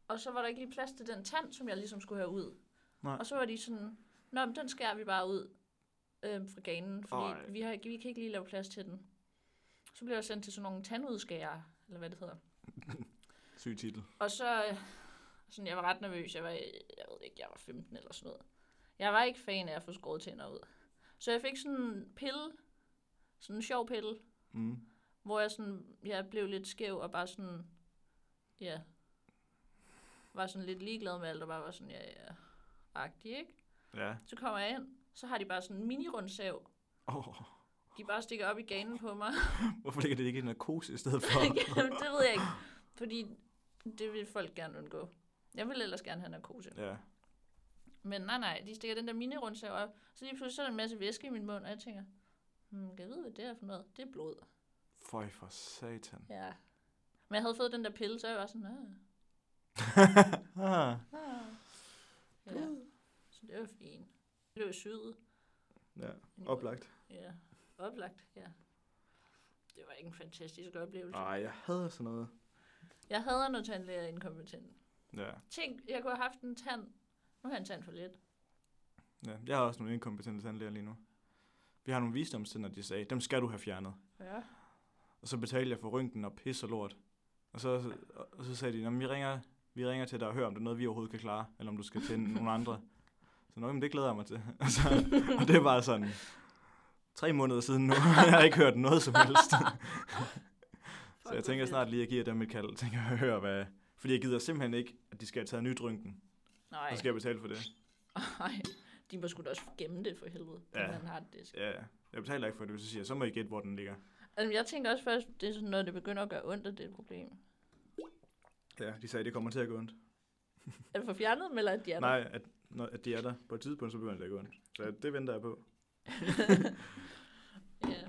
A: og så var der ikke lige plads til den tand, som jeg ligesom skulle have ud.
B: Nej.
A: Og så var de sådan... Nå, men den skærer vi bare ud øh, fra ganen,
B: Ej.
A: fordi vi, har, ikke- vi kan ikke lige lave plads til den. Så blev jeg sendt til sådan nogle tandudskærer, eller hvad det hedder.
B: Syg titel.
A: Og så, øh, sådan, jeg var ret nervøs. Jeg var, jeg ved ikke, jeg var 15 eller sådan noget. Jeg var ikke fan af at få skåret tænder ud. Så jeg fik sådan en pille, sådan en sjov pille,
B: Mm.
A: hvor jeg sådan, jeg blev lidt skæv og bare sådan, ja, var sådan lidt ligeglad med alt, og bare var sådan, ja, ja, agtig, ikke?
B: Ja.
A: Så kommer jeg ind, så har de bare sådan en mini-rundsav,
B: Oh,
A: de bare stikker op i ganen på mig.
B: hvorfor ligger det ikke i narkose i stedet for?
A: Jamen, det ved jeg ikke, fordi det vil folk gerne undgå. Jeg vil ellers gerne have narkose.
B: ja.
A: Men nej, nej, de stikker den der minirundsav op, så lige pludselig så er der en masse væske i min mund, og jeg tænker, hmm, kan jeg vide, hvad det er for noget? Det er blod.
B: Føj for satan.
A: Ja. Men jeg havde fået den der pille, så jeg var sådan, ah,
B: ah,
A: ah. Ja. Så det var fint. Det blev syet.
B: ja, oplagt.
A: Ja, oplagt, ja. Det var ikke en fantastisk oplevelse.
B: Ej, jeg hader sådan noget.
A: Jeg hader, når tandlæger er inkompetent.
B: Ja.
A: Tænk, jeg kunne have haft en tand. Nu har jeg en tand for lidt.
B: ja. Jeg har også nogle inkompetente tandlæger lige nu. Vi har nogle visdomstænder, de sagde, dem skal du have fjernet.
A: Ja.
B: Og så betalte jeg for rynken og pis og lort. Og så, og så sagde de, at vi ringer, vi ringer til dig og hører, om det er noget, vi overhovedet kan klare, eller om du skal tænde nogle andre. Så nok, det glæder jeg mig til. Og, så, og det var sådan tre måneder siden nu, og jeg har ikke hørt noget som helst. så jeg tænker snart lige, at jeg giver dem et kald, tænker jeg hører, hvad... Fordi jeg gider simpelthen ikke, at de skal have taget nyt rynken.
A: Nej,
B: Så skal jeg betale for det.
A: nej. De må sgu da også gemme det for helvede,
B: Ja.
A: ja. man har det.
B: Ja, ja. jeg betaler ikke for det, hvis jeg siger, så må I gætte, hvor den ligger.
A: Altså, jeg tænker også først, det er sådan, når det begynder at gøre ondt, at det er et problem.
B: Ja, de sagde, det kommer til at gå ondt.
A: Er det for fjernet dem, eller er de er der?
B: Nej, at, når, at de er der på et tidspunkt, så begynder det at gå ondt. Så
A: Mm.
B: det venter jeg på.
A: ja.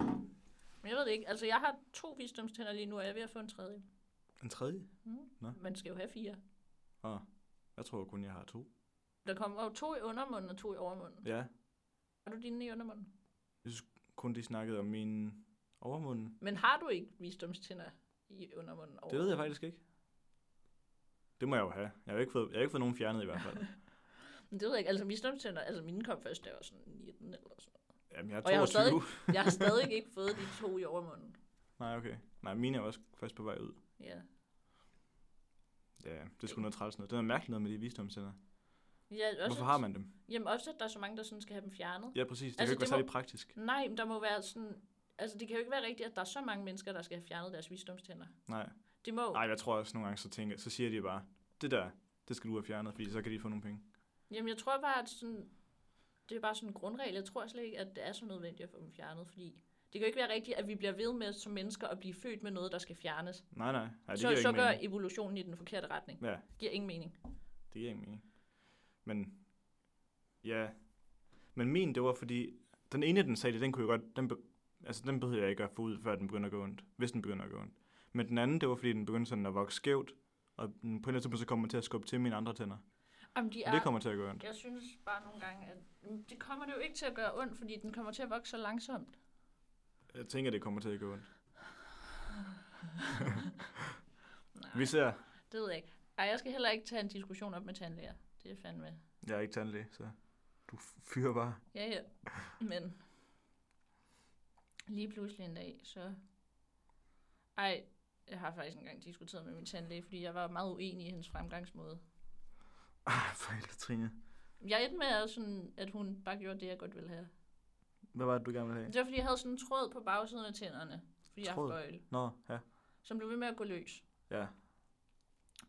A: Men jeg ved det ikke. Altså, jeg har to visdomstænder lige nu, og jeg er ved at få en tredje. Mm.
B: En tredje? Nå.
A: Man skal jo have fire.
B: Åh, jeg tror kun, jeg har to.
A: Der kommer jo to i undermunden og to i overmunden.
B: Ja,
A: Har du dine i undermunden?
B: kun de snakkede om min overmund.
A: Men har du ikke visdomstænder i undermunden? og
B: Det ved jeg
A: overmunden?
B: faktisk ikke. Det må jeg jo have. Jeg har jo ikke fået, jeg har ikke fået nogen fjernet i hvert fald.
A: Men det ved jeg ikke. Altså, visdomstænder, altså mine kom først, da jeg var sådan 19 eller sådan
B: Jamen, jeg er
A: Og jeg har jo
B: 22.
A: stadig- Jeg har stadig ikke fået de to i overmunden.
B: Nej, okay. Nej, mine er jo også først på vej ud.
A: Ja.
B: Ja, det er sgu noget træls noget. Det er noget mærkeligt noget med de visdomscenter.
A: ja også,
B: Hvorfor har man dem?
A: Jamen, også at der er så mange, der sådan skal have dem fjernet.
B: Ja, præcis. Det
A: Altså,
B: altså, kan jo ikke
A: det
B: være
A: må-
B: særlig praktisk.
A: Nej, men der må være sådan... Altså, det kan jo ikke være rigtigt, at der er så mange mennesker, der skal have fjernet deres visdomstænder.
B: Nej.
A: Det må
B: Nej, jeg tror også nogle gange, så tænker, så siger de bare, det der, det skal du have fjernet, fordi så kan de få nogle penge.
A: Jamen, jeg tror bare, at sådan, det er bare sådan en grundregel. Jeg tror slet ikke, at det er så nødvendigt at få dem fjernet, fordi Det kan jo ikke være rigtigt, at vi bliver ved med som mennesker at blive født med noget, der skal fjernes.
B: Nej, nej. nej det
A: så
B: giver
A: så
B: ikke
A: gør
B: mening.
A: evolutionen i den forkerte retning.
B: Ja,
A: Det giver ingen mening.
B: det giver ingen mening. Men, ja. Men min, det var fordi, den ene, den sagde det, den kunne jeg godt, den, be- altså den behøvede jeg ikke at få ud, før den begynder at gå ondt. Hvis den begynder at gå ondt. Men den anden, det var fordi, den begyndte sådan at vokse skævt, og den- på en eller anden tidspunkt, så kommer den til at skubbe til mine andre tænder.
A: Jamen, de
B: Ja.
A: er,
B: Det kommer til at gøre ondt.
A: Jeg synes bare nogle gange, at mm, det kommer det jo ikke til at gøre ondt, fordi den kommer til at vokse så langsomt.
B: Jeg tænker, det kommer til at gøre ondt.
A: Nej,
B: Vi ser.
A: det ved jeg ikke. Ej, jeg skal heller ikke tage en diskussion op med tandlæger. Det er fandme...
B: Jeg er ikke tandlæge, så du fyrer bare.
A: Ja, ja. Men lige pludselig en dag, så... Ej, jeg har faktisk engang diskuteret med min tandlæge, fordi jeg var meget uenig i hendes fremgangsmåde.
B: Ah, for helvede, Trine.
A: Jeg endte med, at, sådan, at hun bare gjorde det, jeg godt ville have.
B: Hvad var det, du gerne ville have?
A: Det var, fordi jeg havde sådan en tråd på bagsiden af tænderne, fordi jeg har
B: Tråd?
A: fløjl,
B: Nå, ja.
A: som blev ved med at gå løs.
B: Ja,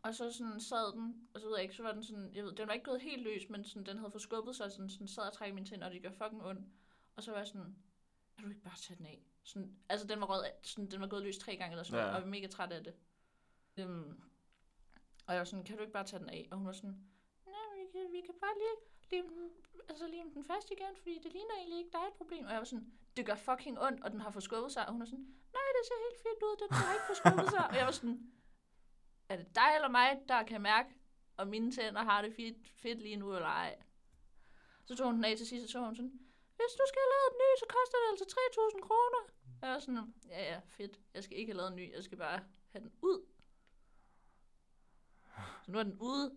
A: Og så sådan sad den, og så ved jeg ikke, så var den sådan, jeg ved, den var ikke gået helt løs, men sådan, den havde forskubbet sig, sådan, sådan sad og trak mine tænder, og det gør fucking ondt. Og så var jeg sådan, kan du ikke bare tage den af? Sådan, altså den var, rød, sådan, den var gået løs tre gange eller sådan
B: Ja.
A: ja. og jeg var mega træt af det. Um, og jeg var sådan, kan du ikke bare tage den af? Og hun var sådan, nej, vi kan, vi kan bare lige lime den, altså lime den fast igen, fordi det ligner egentlig ikke, der er et problem. Og jeg var sådan, det gør fucking ondt, og den har forskubbet sig. Og hun var sådan, nej, det ser helt fint ud, den har ikke forskubbet sig. Og jeg var sådan, er det dig eller mig, der kan mærke, om mine tænder har det fedt, fedt lige nu eller ej? Så tog hun den af til sidst, og så var hun sådan, hvis du skal have lavet en ny, så koster det altså 3.000 kroner. Og jeg var sådan, ja ja, fedt, jeg skal ikke have lavet en ny, jeg skal bare have den ud. Så nu er den ude,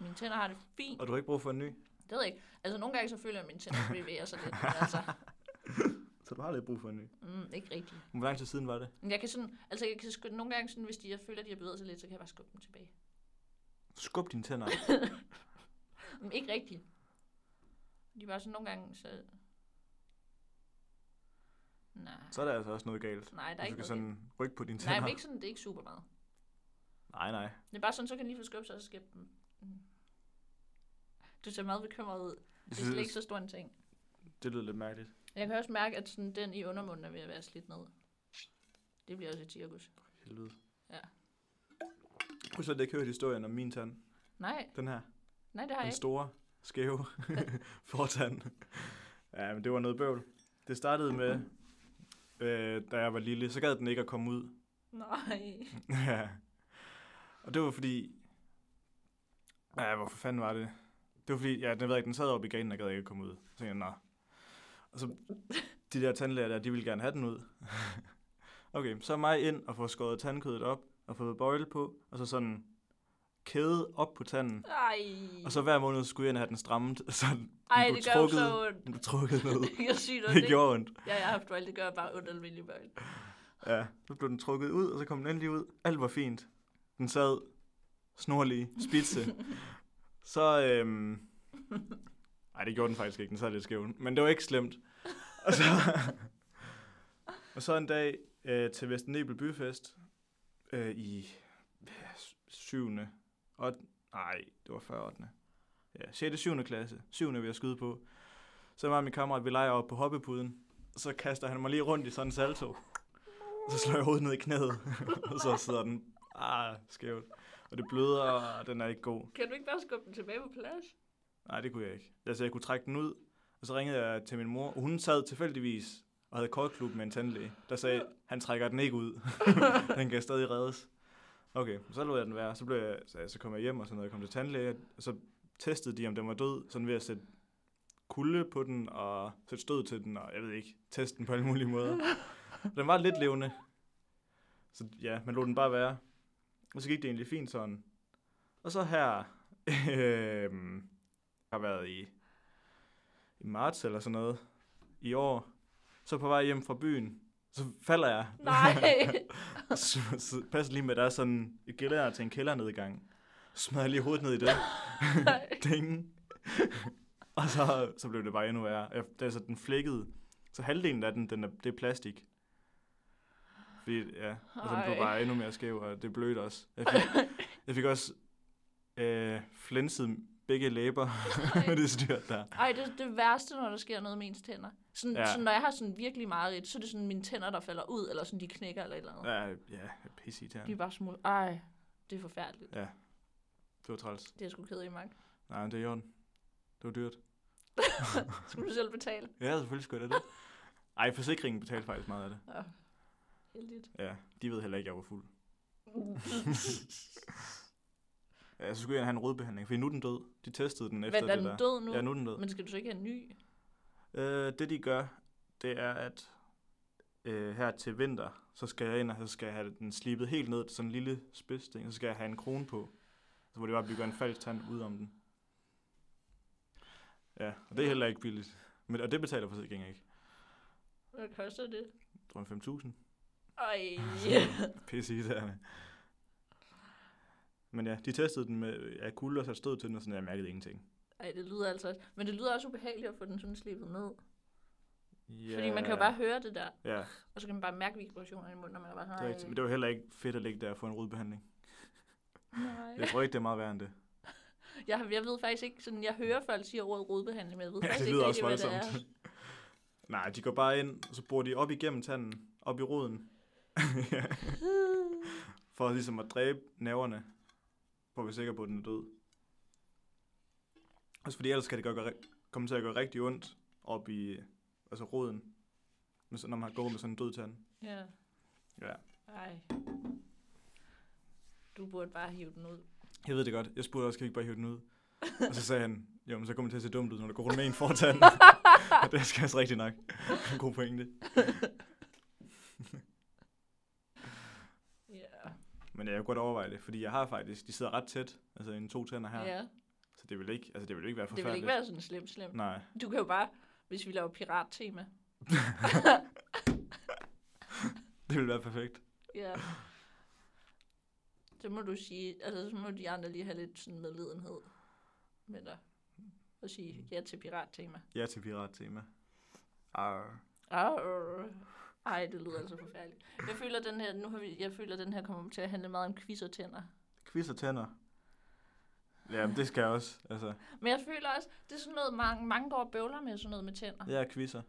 A: mine tænder har det fint.
B: og du har ikke brug for en ny?
A: Det ved jeg ikke. Altså nogle gange så føler jeg, at mine tænder bevæger sig lidt, men altså
B: Så du har lidt brug for en ny.
A: mm, ikke rigtigt.
B: Hvor lang tid siden var det?
A: Men jeg kan sådan, altså jeg kan sgu- nogle gange sådan, hvis de, jeg føler, at de har bevæget sig lidt, så kan jeg bare skubbe dem tilbage.
B: Skub dine tænder.
A: Men ikke rigtigt. De var sådan nogle gange, så... Nej,
B: så er der altså også noget galt.
A: nej der er
B: Hvis du
A: ikke
B: kan
A: noget.
B: sådan rykke på dine
A: galt. Nej,
B: tænder.
A: men ikke sådan, det er ikke super meget.
B: nej, nej.
A: Det er bare sådan, så kan de lige få skubbet sig og så skæbbe dem. Mm. Du ser meget bekymret ud.
B: Jeg
A: Det er slet
B: synes,
A: ikke så stor en ting.
B: det lyder lidt mærkeligt.
A: Jeg kan også mærke, at sådan den i undermunden er ved at være slidt ned. Det bliver også et cirkus.
B: Helvede.
A: Ja.
B: Du så ikke hørt historien om min tand.
A: Nej,
B: Den her.
A: nej, det har jeg
B: Den
A: ikke.
B: store, skæve fortand. ja, men det var noget bøvl. Det startede med, øh, da jeg var lille, så gad den ikke at komme ud.
A: Nej.
B: Mm. ja. Og det var fordi... Ja, hvorfor fanden var det? Det var fordi, ja, den, ved jeg ikke, den sad oppe i gaden og gad ikke at komme ud. Så tænkte jeg, nej. Og så de der tandlæger der, de ville gerne have den ud. okay, så mig ind og få skåret tandkødet op og fået bøjle på, og så sådan kæde op på tanden.
A: Ej.
B: Og så hver måned skulle jeg ind og have den strammet, så den
A: Ej,
B: blev
A: det gør jo
B: trukket.
A: så ondt.
B: blev trukket ned.
A: Det gør sygt ondt,
B: det
A: ikke?
B: gjorde ondt.
A: Ja, jeg har haft valg, det gør bare ondt almindelig børn.
B: Ja, så blev den trukket ud, og så kom den endelig ud. Alt var fint. Den sad snorlig, spidse. så, øhm... Ej, det gjorde den faktisk ikke. Den sad lidt skæv. Men det var ikke slemt. Og så, og så en dag øh, til Vesten Nebel Byfest øh, i ja, 7. 8. Nej, det var før 8. Ja, 6. 7. klasse. 7. vil jeg skyde på. Så var min kammerat, vi leger op på hoppepuden. Og så kaster han mig lige rundt i sådan en salto. Og så slår jeg hovedet ned i knæet, og så sidder den ah, skævt. Og det bløder, og den er ikke god.
A: Kan du ikke bare skubbe den tilbage på plads?
B: Nej, det kunne jeg ikke. Altså, jeg kunne trække den ud, og så ringede jeg til min mor, og hun sad tilfældigvis og havde kortklub med en tandlæge, der sagde, han trækker den ikke ud. den kan stadig reddes. Okay, så lod jeg den være. Så, blev jeg, så, så kom jeg hjem og sådan noget. Jeg kom til tandlæge, og så testede de, om den var død, sådan ved at sætte kulde på den, og sætte stød til den, og jeg ved ikke, teste den på alle mulige måder. Den var lidt levende. Så ja, man lod den bare være. Og så gik det egentlig fint sådan. Og så her, øh, har været i, i marts eller sådan noget i år. Så på vej hjem fra byen, så falder jeg.
A: Nej.
B: så, så pas lige med, at der er sådan et gælder til en kældernedgang. Så smadrer jeg lige hovedet ned i det. Ding. og så, så blev det bare endnu værre. Jeg, altså, den flækkede. Så halvdelen af den, den er, det er plastik. Fordi, ja, og så den blev
A: Ej.
B: bare endnu mere skæv, og det blødte også. Jeg fik, jeg fik også øh, flænset begge læber med det styr der.
A: Ej, det er det værste, når der sker noget med ens tænder. Sådan, ja.
B: Ja.
A: sådan når jeg har sådan virkelig meget så er det sådan mine tænder, der falder ud, eller sådan de knækker eller et eller andet. Ja.
B: Ja, ja, pisse i
A: De er bare små. Ej, det er forfærdeligt.
B: Det var træls.
A: Det er jeg sgu ked af, Mark.
B: Nej, men det er i orden. Det var dyrt.
A: Skulle du selv betale?
B: Ja, selvfølgelig skulle jeg da det. Ej, forsikringen betalte faktisk meget af det.
A: Ja. Heldigt.
B: Ja, de ved heller ikke, at jeg var fuld. Ja, så skulle jeg have en rødbehandling, for nu er den død. De testede den efter
A: Men er
B: det
A: den
B: der.
A: død nu?
B: Ja, nu er den død.
A: Men skal du så ikke have en ny?
B: Øh, det de gør, det er, at øh, her til vinter, så skal jeg ind, og så skal jeg have den slibet helt ned til sådan en lille spidsting, så skal jeg have en krone på. Så må de bare bygge en falsk tand ud om den. Ja, og det er heller ikke billigt. Men, og det betaler forsikringen ikke.
A: Hvad koster det?
B: Jeg tror, en 5.000.
A: Ej,
B: Pisse irriterende. Men ja, de testede den med af kulde og satte stød til den, og sådan, jeg mærkede ingenting.
A: Ej, det lyder altså også. Men det lyder også ubehageligt at få den sådan slebet ned.
B: Ja,
A: Fordi man kan jo bare høre det der,
B: Ja,
A: og så kan man bare mærke vibrationerne i munden, når man er bare
B: det er rigtigt.
A: sådan,
B: Men det var heller ikke fedt at ligge der og få en rødbehandling.
A: nej, nej.
B: Jeg tror ikke, det er meget værre end det.
A: Jeg, jeg ved faktisk ikke, sådan, jeg hører folk sige ordet rodbehandling, men jeg ved faktisk
B: det
A: ikke
B: lyder
A: rigtig,
B: også
A: hvad det er.
B: voldsomt. Nej, de går bare ind, og så borer de op igennem tanden, op i roden, for ligesom at dræbe nerverne, for at være sikker på, at den er død. Også fordi ellers kan det gøre, gøre, komme til at gøre rigtig ondt op i altså roden, med, sådan- når man har gået med sådan en død tand.
A: Ja.
B: Ja.
A: Ej. Du burde bare hive den ud.
B: Jeg ved det godt. Jeg spurgte også, kan vi ikke bare hive den ud? Og så sagde han, jo, men så kommer det til at se dumt ud, når du går rundt med en fortand. og det er sgu også rigtigt nok. God pointe.
A: Ja.
B: Men jeg kunne godt overveje det, fordi jeg har faktisk, de sidder ret tæt, altså en to tænder her.
A: ja.
B: Så det vil ikke, altså det vil ikke være
A: Det vil
B: forfærdeligt.
A: ikke være sådan slemt, slemt.
B: Nej.
A: Du kan jo bare, hvis vi laver pirattema.
B: Det vil være perfekt.
A: Ja. Så må du sige, altså så må de andre lige have lidt sådan medlidenhed med dig. Og sige ja til pirattema.
B: Ja til Ah. pirattema. Arr.
A: Arr. Ej, det lyder altså forfærdeligt. Jeg føler, den her, nu har vi, jeg føler, den her kommer til at handle meget om quiz og tænder.
B: Quiz og tænder. Ja, men det skal jeg også. Altså,
A: Men jeg føler også, det er sådan noget, mange, mange går og bøvler med sådan noget med tænder.
B: jeg er quizzer.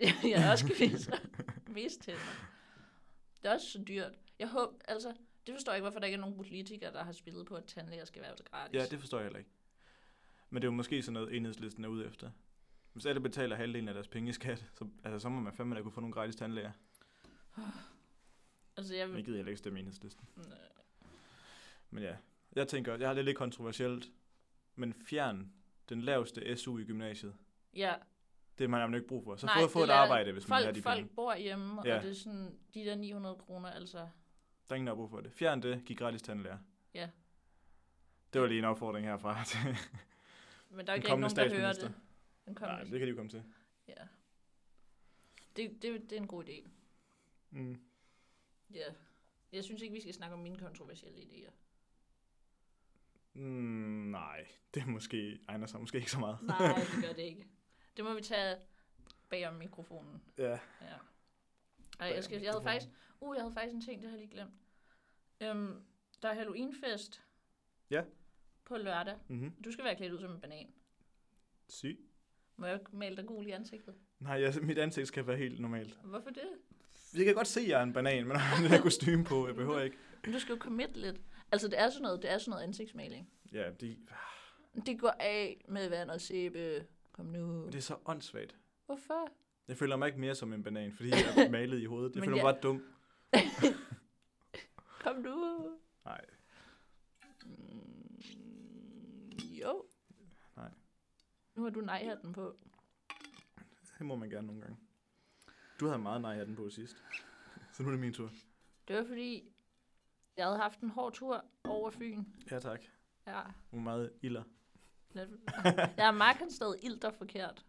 A: jeg er også kviser. Mest tænder. Det er også så dyrt. Jeg håber, altså, det forstår jeg ikke, hvorfor der ikke er nogen politikere, der har spillet på, at tandlæger skal være gratis.
B: Ja, det forstår jeg heller ikke. Men det er jo måske sådan noget, enhedslisten er ude efter. Hvis alle betaler halvdelen af deres penge i skat, så, altså, så må man fandme da kunne få nogle gratis tandlæger.
A: Mm. Altså, jeg
B: Men
A: vil...
B: jeg gider heller ikke stemme enhedslisten.
A: Nej.
B: Men ja, jeg tænker, jeg har det lidt kontroversielt, men fjern den laveste SU i gymnasiet.
A: Ja,
B: Det har man nemlig ikke brug for. Så
A: Nej,
B: få, få
A: det
B: et
A: lader-
B: arbejde, hvis man
A: folk,
B: har de penge.
A: folk bor hjemme, ja.
B: Ja.
A: og det er sådan, de der 900 kroner, altså...
B: Der er ingen, der har brug for det. Fjern det, giv gratis tandlæger.
A: Ja.
B: Det var lige en opfordring herfra til
A: Men der er
B: den
A: ikke rigtig
B: kommende
A: nogen, der hører
B: statsminister.
A: det. Den
B: Nej,
A: kommende.
B: det kan de jo komme til.
A: Ja. Det, det, det er en god idé.
B: Mm.
A: Ja. Jeg synes ikke, vi skal snakke om mine kontroversielle idéer.
B: Mm, nej, det måske egner sig måske ikke så meget.
A: Nej, det gør det ikke. Det må vi tage bag om mikrofonen.
B: Ja.
A: Ja. Ej,
B: Bag
A: jeg,
B: om
A: skal, jeg havde
B: mikrofonen.
A: faktisk, uh, jeg havde faktisk en ting, det har jeg lige glemt. Øhm, der er Halloweenfest.
B: Ja.
A: På lørdag.
B: Mm-hmm.
A: Du skal være klædt ud som en banan.
B: Syg.
A: Må jeg male dig gul i ansigtet?
B: Nej, jeg, mit ansigt skal være helt normalt.
A: Hvorfor det?
B: Jeg kan godt se, at jeg er en banan, men har det der kostume på, jeg behøver ikke.
A: Men du skal jo commit lidt. Altså, det er sådan noget, det er sådan noget ansigtsmaling.
B: Ja, det,
A: Det går af med vand og sæbe. Kom nu.
B: det er så åndssvagt.
A: Hvorfor?
B: Jeg føler mig ikke mere som en banan, fordi jeg er malet i hovedet. Jeg
A: Men
B: føler mig
A: ja.
B: ret dum.
A: Kom nu.
B: Nej.
A: Mm, jo.
B: Nej.
A: Nu har du nej-hatten på.
B: Det må man gerne nogle gange. Du havde meget nej af den på sidst. Så nu er det min tur.
A: Det var fordi, jeg havde haft en hård tur over Fyn.
B: Ja, tak.
A: Ja.
B: Hvor meget ilder.
A: Jeg er marken stadig ilter forkert.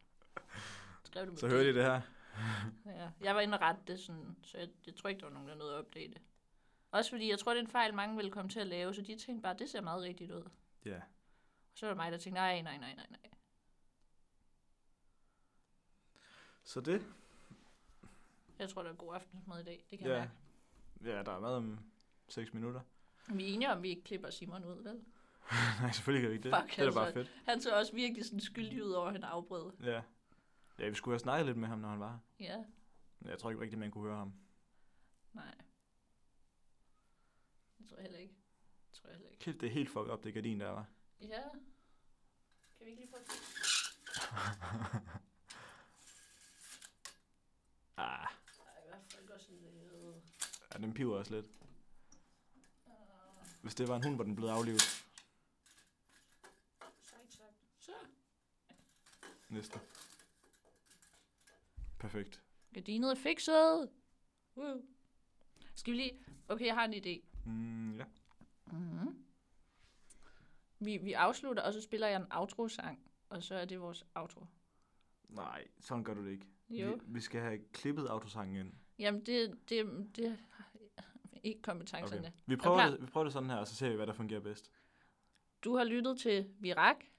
A: Skrev du
B: Så hørte I det her.
A: Ja. Jeg var inde og rette det, sådan, så jeg, jeg tror ikke, der var nogen, der nåede at opdage det. Også fordi, jeg tror, det er en fejl, mange ville komme til at lave, så de tænkte bare, det ser meget rigtigt ud.
B: Ja.
A: Og så var det mig, der tænkte, nej, nej, nej, nej, nej.
B: Så det?
A: Jeg tror, der er god aftensmad i dag. Det kan
B: Ja.
A: jeg mærke.
B: Ja, der er mad om 6 minutter.
A: Vi er enige om, at vi ikke klipper Simon ud, vel?
B: Nej, selvfølgelig gør vi ikke det.
A: Fuck,
B: det er da bare
A: altså.
B: fedt.
A: Han så også virkelig sådan skyldig ud over, at han afbrød.
B: Ja. ja, vi skulle have snakket lidt med ham, når han var her.
A: Ja,
B: Men Jeg tror ikke rigtig, man kunne høre ham.
A: nej. Det tror jeg heller ikke. Det tror jeg heller ikke.
B: Kæft, det er helt fucked op, det gardin der, var.
A: Ja. Kan vi ikke lige prøve at
B: Ah,
A: Ej, i hvert fald går sådan lidt. øh,
B: ja, den piver også lidt.
A: Ah,
B: Hvis det var en hund, var den blevet aflivet.
A: Sejt sagt. Så.
B: Næsten. Perfekt.
A: Gardinet er fikset. Woo. Skal vi lige... Okay, jeg har en idé.
B: Mm, ja.
A: Mm-hmm. Vi, vi afslutter, og så spiller jeg en outro-sang. Og så er det vores outro.
B: Nej, sådan gør du det ikke.
A: Jo.
B: Vi, vi skal have klippet autosangen ind.
A: Jamen, det, det, det har jeg ikke kompetencerne. Okay.
B: Vi prøver,
A: klar?
B: det, vi prøver det sådan her, og så ser vi, hvad der fungerer bedst.
A: Du har lyttet til Virak.